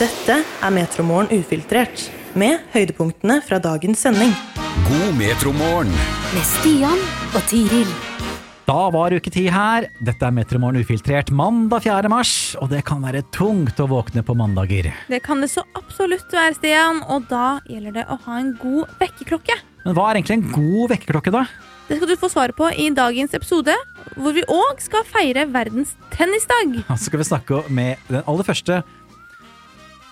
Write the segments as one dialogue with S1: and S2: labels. S1: Dette er Metromorgen ufiltrert, med høydepunktene fra dagens sending.
S2: God metromorgen.
S3: med Stian og Tiril.
S4: Da var uke ti her. Dette er Metromorgen ufiltrert mandag 4. mars, og det kan være tungt å våkne på mandager.
S5: Det kan det så absolutt være, Stian. Og da gjelder det å ha en god vekkerklokke.
S4: Men hva er egentlig en god vekkerklokke, da?
S5: Det skal du få svar på i dagens episode, hvor vi òg skal feire verdens tennisdag.
S4: Og Så skal vi snakke med den aller første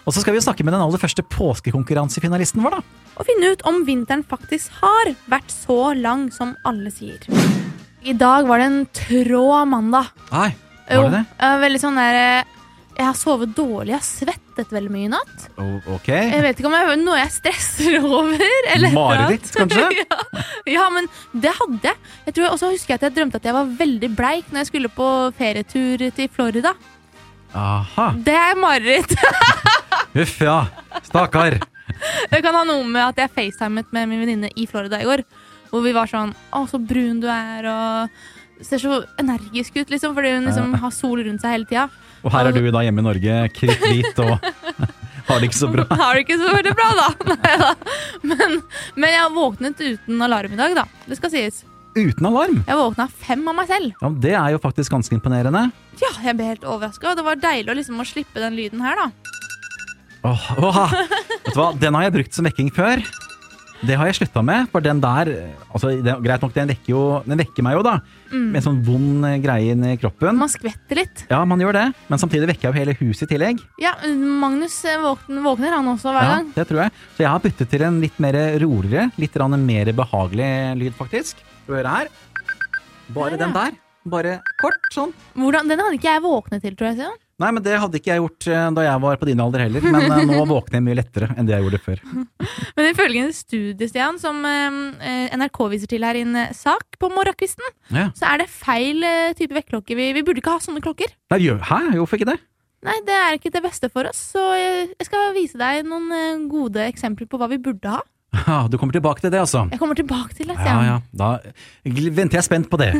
S4: Og så skal vi snakke med den aller første påskekonkurransefinalisten vår, da.
S5: Og finne ut om vinteren faktisk har vært så lang som alle sier. I dag var det en trå mandag.
S4: Nei, var det det?
S5: Jo, eh, veldig sånn der eh, Jeg har sovet dårlig, jeg har svettet veldig mye i natt.
S4: O- ok.
S5: Jeg vet ikke om det er noe jeg stresser over. Eller
S4: Mareritt, kanskje?
S5: ja, ja, men det hadde jeg. Jeg tror jeg også husker jeg at jeg drømte at jeg var veldig bleik når jeg skulle på ferietur til Florida.
S4: Aha.
S5: Det er mareritt.
S4: Uff, ja. Stakkar.
S5: Det kan ha noe med at jeg facetimet med min venninne i Florida i går. Hvor vi var sånn Å, så brun du er, og ser så energisk ut, liksom. Fordi hun liksom har sol rundt seg hele tida.
S4: Og her er du da hjemme i Norge, kritthvit og har det ikke så bra.
S5: Har det ikke så veldig bra, da. Neida. Men, men jeg har våknet uten alarm i dag, da. Det skal sies.
S4: Uten alarm.
S5: Jeg våkna fem av meg selv.
S4: Ja, men Det er jo faktisk ganske imponerende.
S5: Ja, jeg ble helt overraska. Det var deilig å, liksom, å slippe den lyden her, da.
S4: Åh, åh, vet du hva? Den har jeg brukt som vekking før. Det har jeg slutta med, for den der altså, det, Greit nok, den vekker, jo, den vekker meg jo, da. Med en sånn vond eh, greie inni kroppen.
S5: Man skvetter litt.
S4: Ja, man gjør det, men samtidig vekker jeg jo hele huset i tillegg.
S5: Ja, Magnus eh, våkner, våkner han også hver
S4: Ja,
S5: gang.
S4: det tror jeg. Så jeg har byttet til en litt mer roligere, litt grann mer behagelig lyd, faktisk. Skal vi høre her. Bare den der. Bare kort, sånn.
S5: Hvordan, den hadde ikke jeg våknet til, tror jeg. Stian.
S4: Nei, men det hadde ikke jeg gjort eh, da jeg var på din alder heller, men eh, nå våkner jeg mye lettere enn det jeg gjorde før.
S5: Men ifølge en studie Stian, som eh, eh, NRK viser til her i en eh, sak på morgenkvisten,
S4: Ja.
S5: så er det feil eh, type vekkerklokke. Vi, vi burde ikke ha sånne klokker.
S4: Nei, gjør- Hæ, hvorfor ikke det?
S5: Nei, det er ikke det beste for oss, så eh, jeg skal vise deg noen eh, gode eksempler på hva vi burde ha.
S4: Ah, Du kommer tilbake til det, altså.
S5: Jeg kommer tilbake til det,
S4: Ja,
S5: Stian.
S4: ja. Da gl- venter jeg spent på det.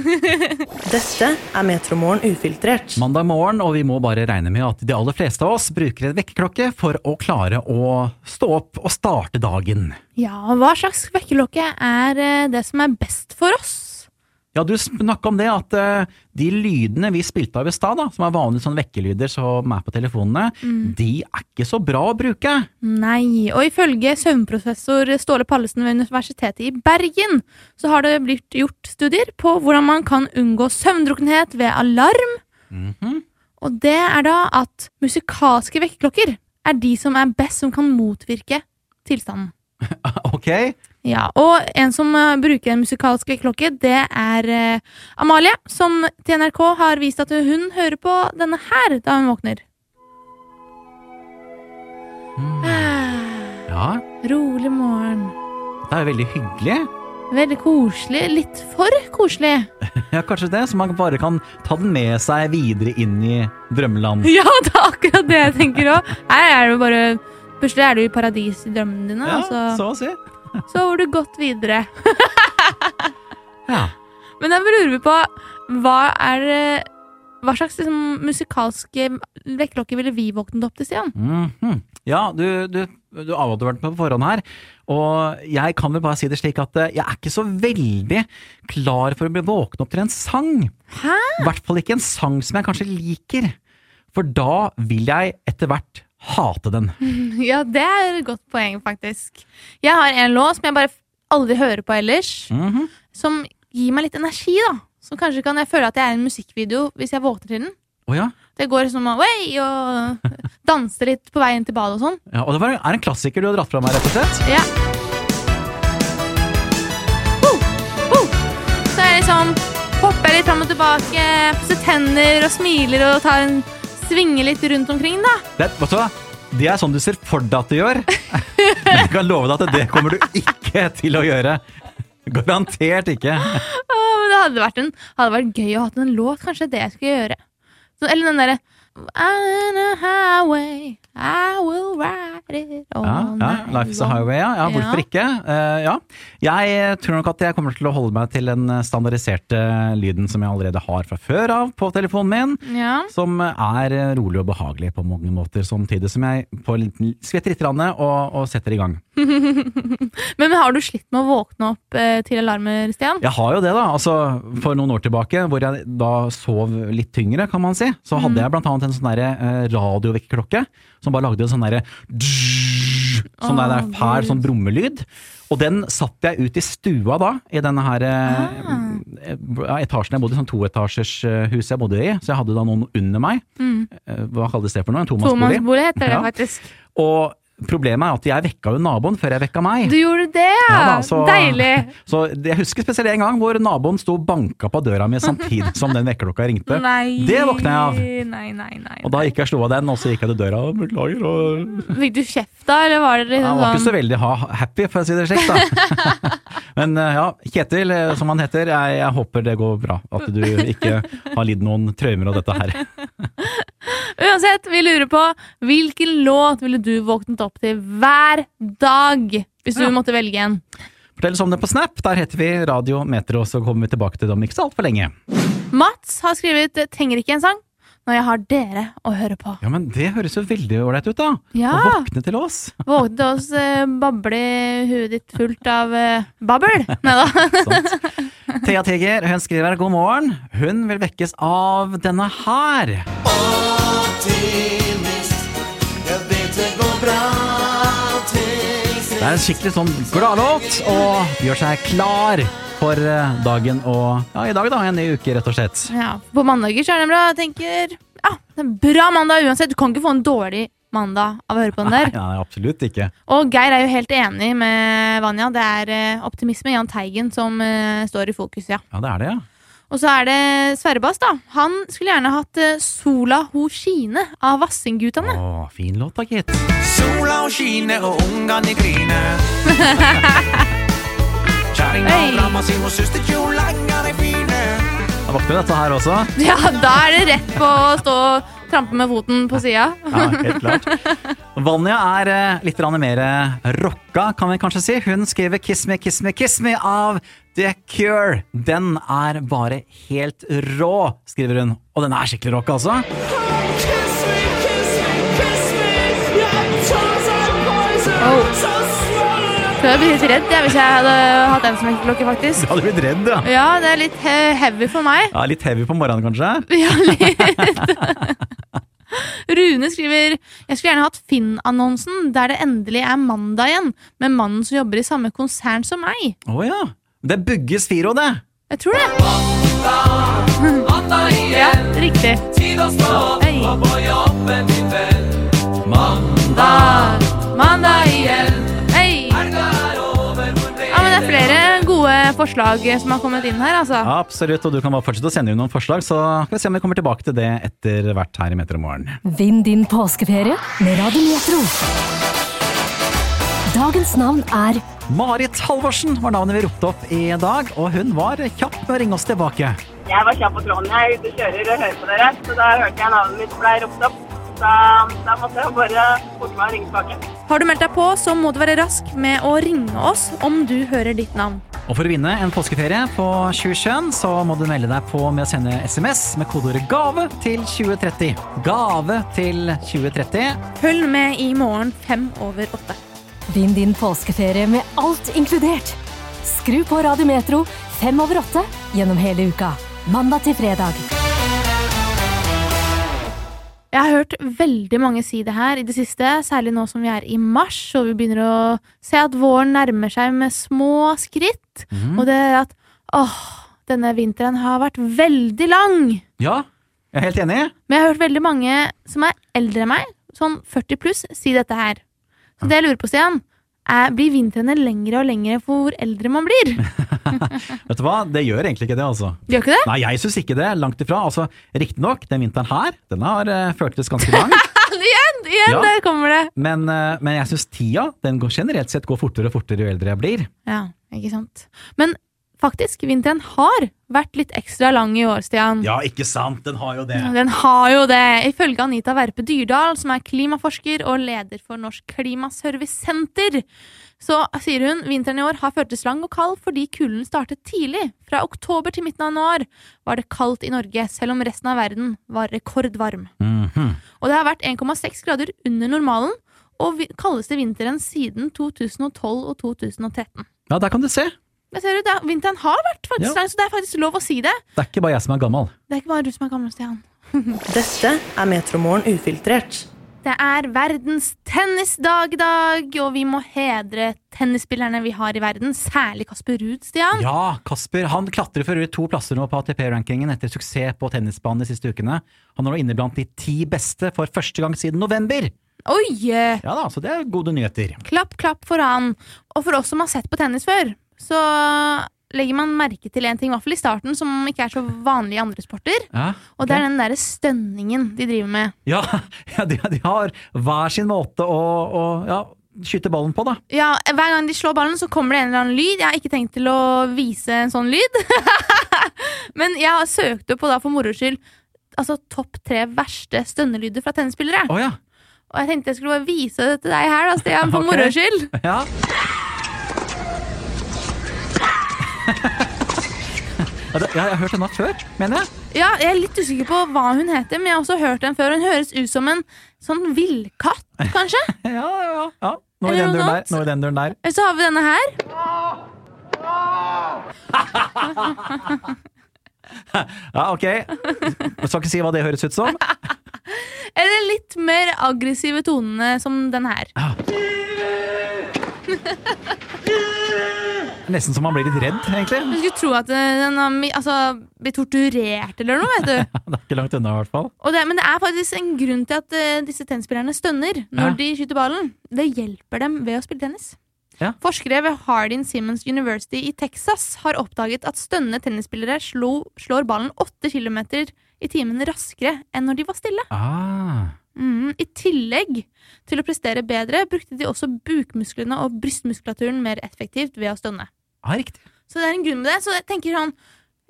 S1: Dette er Metromorgen ufiltrert,
S4: Mandag morgen, og vi må bare regne med at de aller fleste av oss bruker en vekkerklokke for å klare å stå opp og starte dagen.
S5: Ja, og hva slags vekkerklokke er eh, det som er best for oss?
S4: Ja, du snakka om det, at eh, de lydene vi spilte av i stad, da, som er vanlige sånne vekkerlyder som er på telefonene, de er ikke så bra å bruke.
S5: Nei, og ifølge søvnprofessor Ståle Pallesen ved Universitetet i Bergen, så har det blitt gjort studier på hvordan man kan unngå søvndrukkenhet ved alarm. Og det er da at musikalske vekkerklokker er de som er best som kan motvirke tilstanden.
S4: Ok?
S5: Ja, og en som eh, bruker en musikalsk vekkerklokke, det er eh, Amalie, som til NRK har vist at hun hører på denne her da hun våkner. Ah.
S4: Ja,
S5: Rolig morgen.
S4: det er jo veldig hyggelig.
S5: Veldig koselig. Litt for koselig.
S4: Ja, kanskje det, så man bare kan ta den med seg videre inn i drømmeland.
S5: Ja, det er akkurat det jeg tenker òg. Her er du bare Plutselig er du i paradis i drømmene dine,
S4: Ja,
S5: og så
S4: så å si.
S5: sover altså. du godt videre.
S4: Ja.
S5: Men jeg lurer vi på hva er det- Hva slags liksom, musikalske vekkerklokke ville vi våknet opp til, Stian?
S4: Mhm. Ja, du, du, du avadvarte meg på forhånd her. Og jeg kan vel bare si det slik at eh, jeg er ikke så veldig klar for å bli våkne opp til en sang.
S5: Hæ?
S4: I hvert fall ikke en sang som jeg kanskje liker. For da vil jeg etter hvert hate den.
S5: Ja, det er et godt poeng, faktisk. Jeg har en låt som jeg bare aldri hører på ellers.
S4: Mhm.
S5: Som gir meg litt energi, da. Så kanskje kan jeg føle at jeg er i en musikkvideo hvis jeg våkner til den.
S4: Å ja.
S5: Det går liksom away og danser litt på veien til badet og sånn.
S4: ja. Og det var, er en klassiker du har dratt fra meg, rett og slett.
S5: Ja. Ho, ho. Så jeg liksom hopper jeg litt fram og tilbake, pusser tenner og smiler og tar en svinger litt rundt omkring, da.
S4: Det, vet du hva? Det er sånn du ser for deg at du gjør. Men jeg kan love deg at det kommer du ikke til å gjøre. Garantert ikke.
S5: Å, men det hadde vært, en, hadde vært gøy å ha hatt en låt. Kanskje det jeg skulle gjøre. Så, eller den derre On a highway, I will ride seiler on
S4: Ja, ja.
S5: an
S4: Life's a highway, ja. ja hvorfor
S5: Ja.
S4: ikke? Eh, ja. Jeg tror nok at jeg kommer til å holde meg til den standardiserte lyden som jeg allerede har fra før av på telefonen min.
S5: Ja.
S4: Som er rolig og behagelig på mange måter, samtidig som jeg får en liten- skvetter litt grann og, og setter i gang.
S5: Men har du slitt med å våkne opp eh, til alarmer, Stian?
S4: Jeg har jo det, da. altså For noen år tilbake, hvor jeg da sov litt tyngre, kan man si, så hadde jeg blant annet en sånn derre eh, radiovekkerklokke som bare lagde en sånn derre Sånn der, der
S5: Å,
S4: fæl
S5: Gud.
S4: sånn brummelyd. Og den satte jeg ut i stua da, i denne her eh, ja, etasjen jeg bodde i, sånn toetasjers eh, hus jeg bodde i. Så jeg hadde da noen under meg. Eh, Hva kalles det for noe? En tomannsbolig?
S5: Tomannsbolig heter det
S4: Ja.
S5: faktisk.
S4: Og problemet er at jeg vekka jo naboen før jeg vekka meg.
S5: Du gjorde det, ja!
S4: Ja da, så-
S5: Deilig!
S4: Så jeg husker spesielt en gang hvor naboen sto og banka på døra mi samtidig som den vekkerklokka ringte.
S5: Nei.
S4: Det våkna jeg av.
S5: Nei, nei, nei.
S4: Og da gikk jeg og slo av den, og så gikk jeg til døra og beklager. Og...
S5: Fikk du kjeft da, eller var det
S4: Jeg var
S5: liksom
S4: ikke så
S5: sånn
S4: veldig ha- happy, for å si det slik, da. Men eh, ja, Kjetil, eh, som han heter, jeg, jeg håper det går bra. At du ikke har lidd noen traumer av dette her.
S5: Uansett, vi lurer på hvilken låt ville du våknet opp til hver dag hvis du
S4: Ja.
S5: måtte velge en?
S4: Fortell oss om det på Snap. Der heter vi Radio Metro, så kommer vi tilbake til det om ikke så altfor lenge.
S5: Mats har skrevet 'Trenger ikke en sang' når jeg har dere å høre på.
S4: Ja, men det høres jo veldig ålreit ut, da.
S5: Ja.
S4: Å våkne til oss.
S5: Våknet oss eh, bable i huet ditt fullt av eh, babbel. Nei da.
S4: Sant. Thea Teger hun skriver god morgen. Hun vil vekkes av denne her. Det er en skikkelig sånn gladlåt og gjør seg klar for eh, dagen og ja, i dag, da. En ny uke, rett og slett.
S5: Ja, på mandager så er den bra. Jeg tenker ja, det er en bra mandag uansett. Du kan ikke få en dårlig mandag av å høre på den der.
S4: Nei, nei, absolutt ikke.
S5: Og Geir er jo helt enig med Vanja. Det er eh, optimisme, Jahn Teigen, som eh, står i fokus, ja.
S4: Ja, det er det, ja.
S5: Og så er det Sverre Bass, da. Han skulle gjerne hatt eh, 'Sola ho skine' av Vassendgutane.
S4: Å, fin låt da, gitt.
S6: Sola og skine og ungene griner. Kjerringa
S5: Hey.
S6: framma si og søsterkjolene er fine.
S4: Da våkner dette her også.
S5: Ja, da er det rett på å stå og trampe med foten på sida.
S4: Ja, helt klart. Vanja er eh, litt grann mer eh, rocka, kan vi kanskje si. Hun skriver 'Kiss Me, Kiss Me, Kiss Me' av The Cure. Den er bare helt rå, skriver hun. Og den er skikkelig rock, altså.
S5: Så jeg blir litt redd jeg, hvis jeg hadde hatt den som klokke, faktisk.
S4: hadde blitt redd,
S5: Ja, det er litt he- heavy for meg.
S4: Ja, Litt heavy på morgenen, kanskje?
S5: Ja, litt. Rune skriver Jeg skulle gjerne hatt Finn-annonsen der det endelig er mandag igjen, med mannen som jobber i samme konsern som meg.
S4: Å ja. Det er Bugges Firo, det.
S5: Jeg tror det. Ja, riktig. Hei. Mandag, mandag igjen. Hei. Ja, men det er flere gode forslag som har kommet inn her, altså.
S4: Absolutt, og du kan bare fortsette å sende inn noen forslag, så skal vi se om vi kommer tilbake til det etter hvert her i Metro Morgen.
S3: Vinn din påskeferie med Radio Metro. Dagens navn er
S4: Marit Halvorsen var navnet vi ropte opp i dag, og hun var kjapp med å ringe oss tilbake.
S7: Jeg var kjapp på tråden. Jeg er ute og kjører og hører på dere. Så da hørte jeg navnet mitt ble ropt opp. Så da måtte jeg bare forte meg å ringe tilbake.
S5: Har du meldt deg på, så må du være rask med å ringe oss om du hører ditt navn.
S4: Og for å vinne en påskeferie på 2021, så må du melde deg på med å sende SMS med kodeordet 'gave' til 2030. Gave til 2030.
S5: Følg med i morgen fem over åtte.
S3: Vinn din påskeferie med alt inkludert. Skru på Radio Metro fem over åtte gjennom hele uka. Mandag til fredag.
S5: Jeg har hørt veldig mange si det her i det siste, særlig nå som vi er i mars, og vi begynner å se at våren nærmer seg med små skritt.
S4: Mhm.
S5: Og det er at åh, denne vinteren har vært veldig lang.
S4: Ja, jeg er helt enig.
S5: Men jeg har hørt veldig mange som er eldre enn meg, sånn 40 pluss, si dette her. Så det jeg lurer på, Stian, er blir vintrene lengre og lengre for hvor eldre man blir?
S4: Vet du hva, det gjør egentlig ikke det, altså.
S5: Gjør ikke det?
S4: Nei, jeg syns ikke det. Langt ifra. Altså, Riktignok, den vinteren her, den har eh, føltes ganske lang.
S5: Igjen, igjen,
S4: Ja.
S5: der kommer det.
S4: Men, eh, men jeg syns tida den går generelt sett går fortere og fortere jo eldre jeg blir.
S5: Ja, ikke sant. Men Faktisk, vinteren har vært litt ekstra lang i år, Stian.
S4: Ja, ikke sant? Den har jo det.
S5: Den har jo det, ifølge Anita Werpe Dyrdal, som er klimaforsker og leder for Norsk Klimaservicesenter. Så sier hun vinteren i år har føltes lang og kald fordi kulden startet tidlig. Fra oktober til midten av januar var det kaldt i Norge, selv om resten av verden var rekordvarm.
S4: Mhm.
S5: Og det har vært 1,6 grader under normalen og vi- kaldeste vinteren siden 2012 og 2013.
S4: Ja, der kan du se. Det
S5: Men ser du, det, er- vinteren har vært faktisk
S4: Ja.
S5: lang, så det er faktisk lov å si det.
S4: er ikke bare jeg som er gammel.
S5: Det er ikke bare du som er gammel, Stian.
S1: Dette er Metromorgen ufiltrert.
S5: Det er verdens tennisdag i dag, og vi må hedre tennisspillerne vi har i verden. Særlig Kasper Ruud, Stian.
S4: Ja, Kasper han klatrer for to plasser nå på ATP-rankingen etter suksess på tennisbanen de siste ukene. Han er nå inne blant de ti beste for første gang siden november!
S5: Oi! eh,
S4: Ja da, så det er gode nyheter.
S5: Klapp, klapp for han. Og for oss som har sett på tennis før, så legger man merke til en ting, i hvert fall i starten, som ikke er så vanlig i andre sporter.
S4: Ja,
S5: Og det er den derre stønningen de driver med.
S4: ja, de, de har hver sin måte å, å ja, skyte ballen på, da.
S5: Ja, Hver gang de slår ballen, så kommer det en eller annen lyd. Jeg har ikke tenkt til å vise en sånn lyd. Men jeg søkte på da for moro skyld altså topp tre verste stønnelyder fra tennisspillere.
S4: Å ja.
S5: Og jeg tenkte jeg skulle bare vise det til deg her, da, Stian, for
S4: Ok.
S5: moro skyld.
S4: ja. Ja, det- ja, jeg har hørt denne før, mener jeg.
S5: Ja, Jeg er litt usikker på hva hun heter, men jeg har også hørt den før. Hun høres ut som en sånn villkatt, kanskje.
S4: Ja, ja, ja. Nå i
S5: Eller
S4: den døren
S5: noe
S4: der.
S5: annet.
S4: Nå i den døren der.
S5: Eller så har vi denne her.
S4: Ja, ok. Jeg skal ikke si hva det høres ut som.
S5: Eller litt mer aggressive tonene som den her.
S4: Nesten som man blir litt redd, egentlig.
S5: Du skulle tro at eh, den har mi- altså, blir torturert eller noe, vet du.
S4: Det er ikke langt unna, i hvert fall.
S5: Og det, men det er faktisk en grunn til at eh, disse tennisspillerne stønner når
S4: Ja.
S5: de skyter ballen. Det hjelper dem ved å spille tennis.
S4: Ja.
S5: Forskere ved Hardin Simmons University i Texas har oppdaget at stønnende tennisspillere slo, slår ballen 8 km i timen raskere enn når de var stille.
S4: Ah.
S5: Mm. I tillegg til å prestere bedre brukte de også bukmusklene og brystmuskulaturen mer effektivt ved å stønne.
S4: Ja, ah, riktig.
S5: Så det er en grunn med det. Så jeg tenker sånn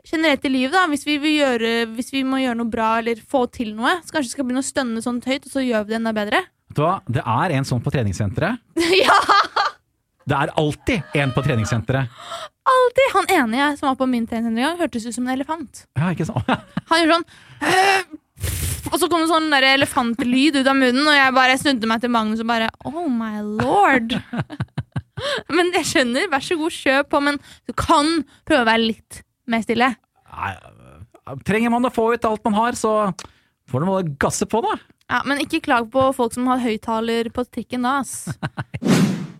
S5: generelt i livet, da, hvis vi, vil gjøre, hvis vi må gjøre noe bra eller få til noe, så kanskje vi skal begynne å stønne sånt høyt, og så gjør vi det enda bedre.
S4: Vet du hva? Det er en sånn på treningssenteret.
S5: ja!
S4: Det er alltid en på treningssenteret.
S5: Alltid! Han ene jeg som var på min trening en gang, hørtes ut som en elefant.
S4: Ja, ikke sant?
S5: Han gjorde sånn Og så kom det sånn der elefantlyd ut av munnen, og jeg bare snudde meg til Magnus og bare Oh my lord! men jeg skjønner, vær så god, kjøp på, men du kan prøve å være litt mer stille.
S4: Nei, eh, trenger man å få ut alt man har, så får man bare gasse på, da.
S5: Ja, Men ikke klag på folk som har høyttaler på trikken da, ass.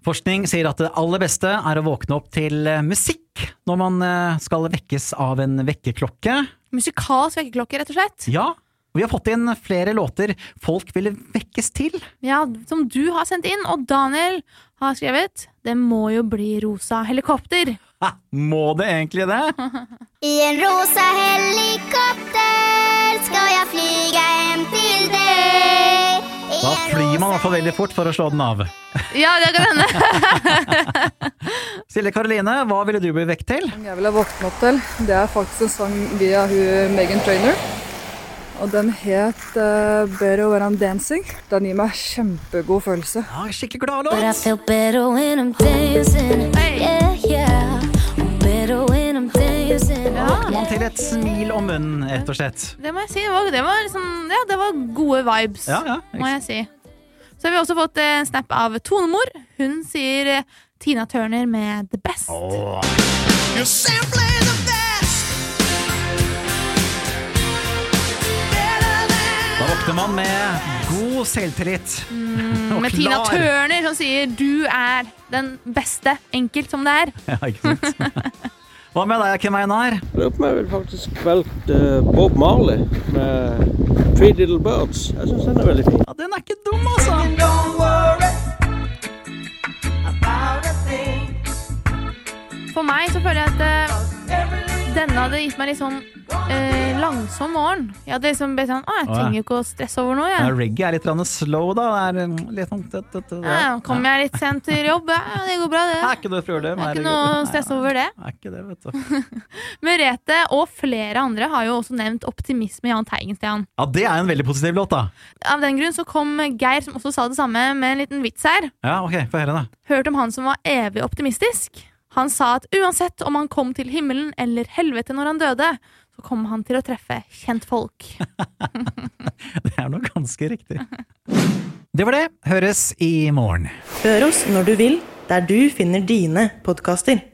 S4: Forskning sier at det aller beste er å våkne opp til eh, musikk når man eh, skal vekkes av en vekkerklokke.
S5: Musikalsk vekkerklokke, rett og slett.
S4: Ja, vi har fått inn flere låter folk ville vekkes til.
S5: Ja, Som du har sendt inn. Og Daniel har skrevet 'Det må jo bli rosa helikopter'.
S4: Hæ, må det egentlig det?
S8: I en rosa helikopter skal jeg flyge hjem til deg. I
S4: Da
S8: en
S4: flyr man i
S8: rosa
S4: hvert fall veldig fort for å slå den av.
S5: Ja, det kan hende.
S4: Silje Karoline, hva ville du bli vekket til?
S9: jeg ville våkne opp til, det er faktisk en sang via hun Megan Trainer. Og den het eh, Better When I'm Dancing. Den gir meg kjempegod følelse.
S4: Ja, skikkelig glad
S10: But I
S4: låt!
S10: feel better when I'm dancing. Yeah, yeah. I'm better when I'm dancing.
S4: Man til et smil om munnen, rett og slett.
S5: Det må jeg si. Det var, det var, liksom, ja, det var gode vibes,
S4: Ja, ja.
S5: må jeg si. Så har vi også fått eh, en snap av tonemor. Hun sier eh, Tina Turner med 'The Best'.
S6: You're simply the best Better than
S4: Da våkner man med god selvtillit. Og
S5: med Tina
S4: klar.
S5: Turner som sier 'Du er den beste', enkelt som det er.
S4: Ja, ikke sant? Hva med deg, Kim Einar?
S11: Lurer på om jeg ville faktisk valgt eh, Bob Marley med Three Little Birds. Jeg syns den er veldig fin.
S4: Ja, den er ikke dum, altså!
S5: For meg så føler jeg at eh, denne hadde gitt meg litt sånn eh, langsom morgen. Jeg hadde liksom blitt sånn Å, jeg
S4: Å, ja.
S5: trenger jo ikke å stresse over noe,
S4: Ja,
S5: jeg.
S4: reggae er litt grann slow, da. Det er litt sånn tøtt, tøtt, tøtt,
S5: Ja, ja, Kommer jeg litt sent til jobb? Ja, det går bra, det.
S4: Er ikke noe problem.
S5: Det er
S4: herregud.
S5: ikke noe å
S4: Nei,
S5: stresse over det.
S4: Er ikke det, vet du.
S5: Merete og flere andre har jo også nevnt optimisme i Jahn Teigenstian.
S4: Ja, det er en veldig positiv låt, da.
S5: Av den grunn så kom Geir, som også sa det samme, med en liten vits her.
S4: Ja, ok, få høre, da.
S5: Hørt om han som var evig optimistisk. Han sa at uansett om han kom til himmelen eller helvete når han døde, så kom han til å treffe kjentfolk.
S4: Det er nok ganske riktig. Det var det. Høres i morgen.
S1: Hør oss når du vil, der du finner dine podkaster.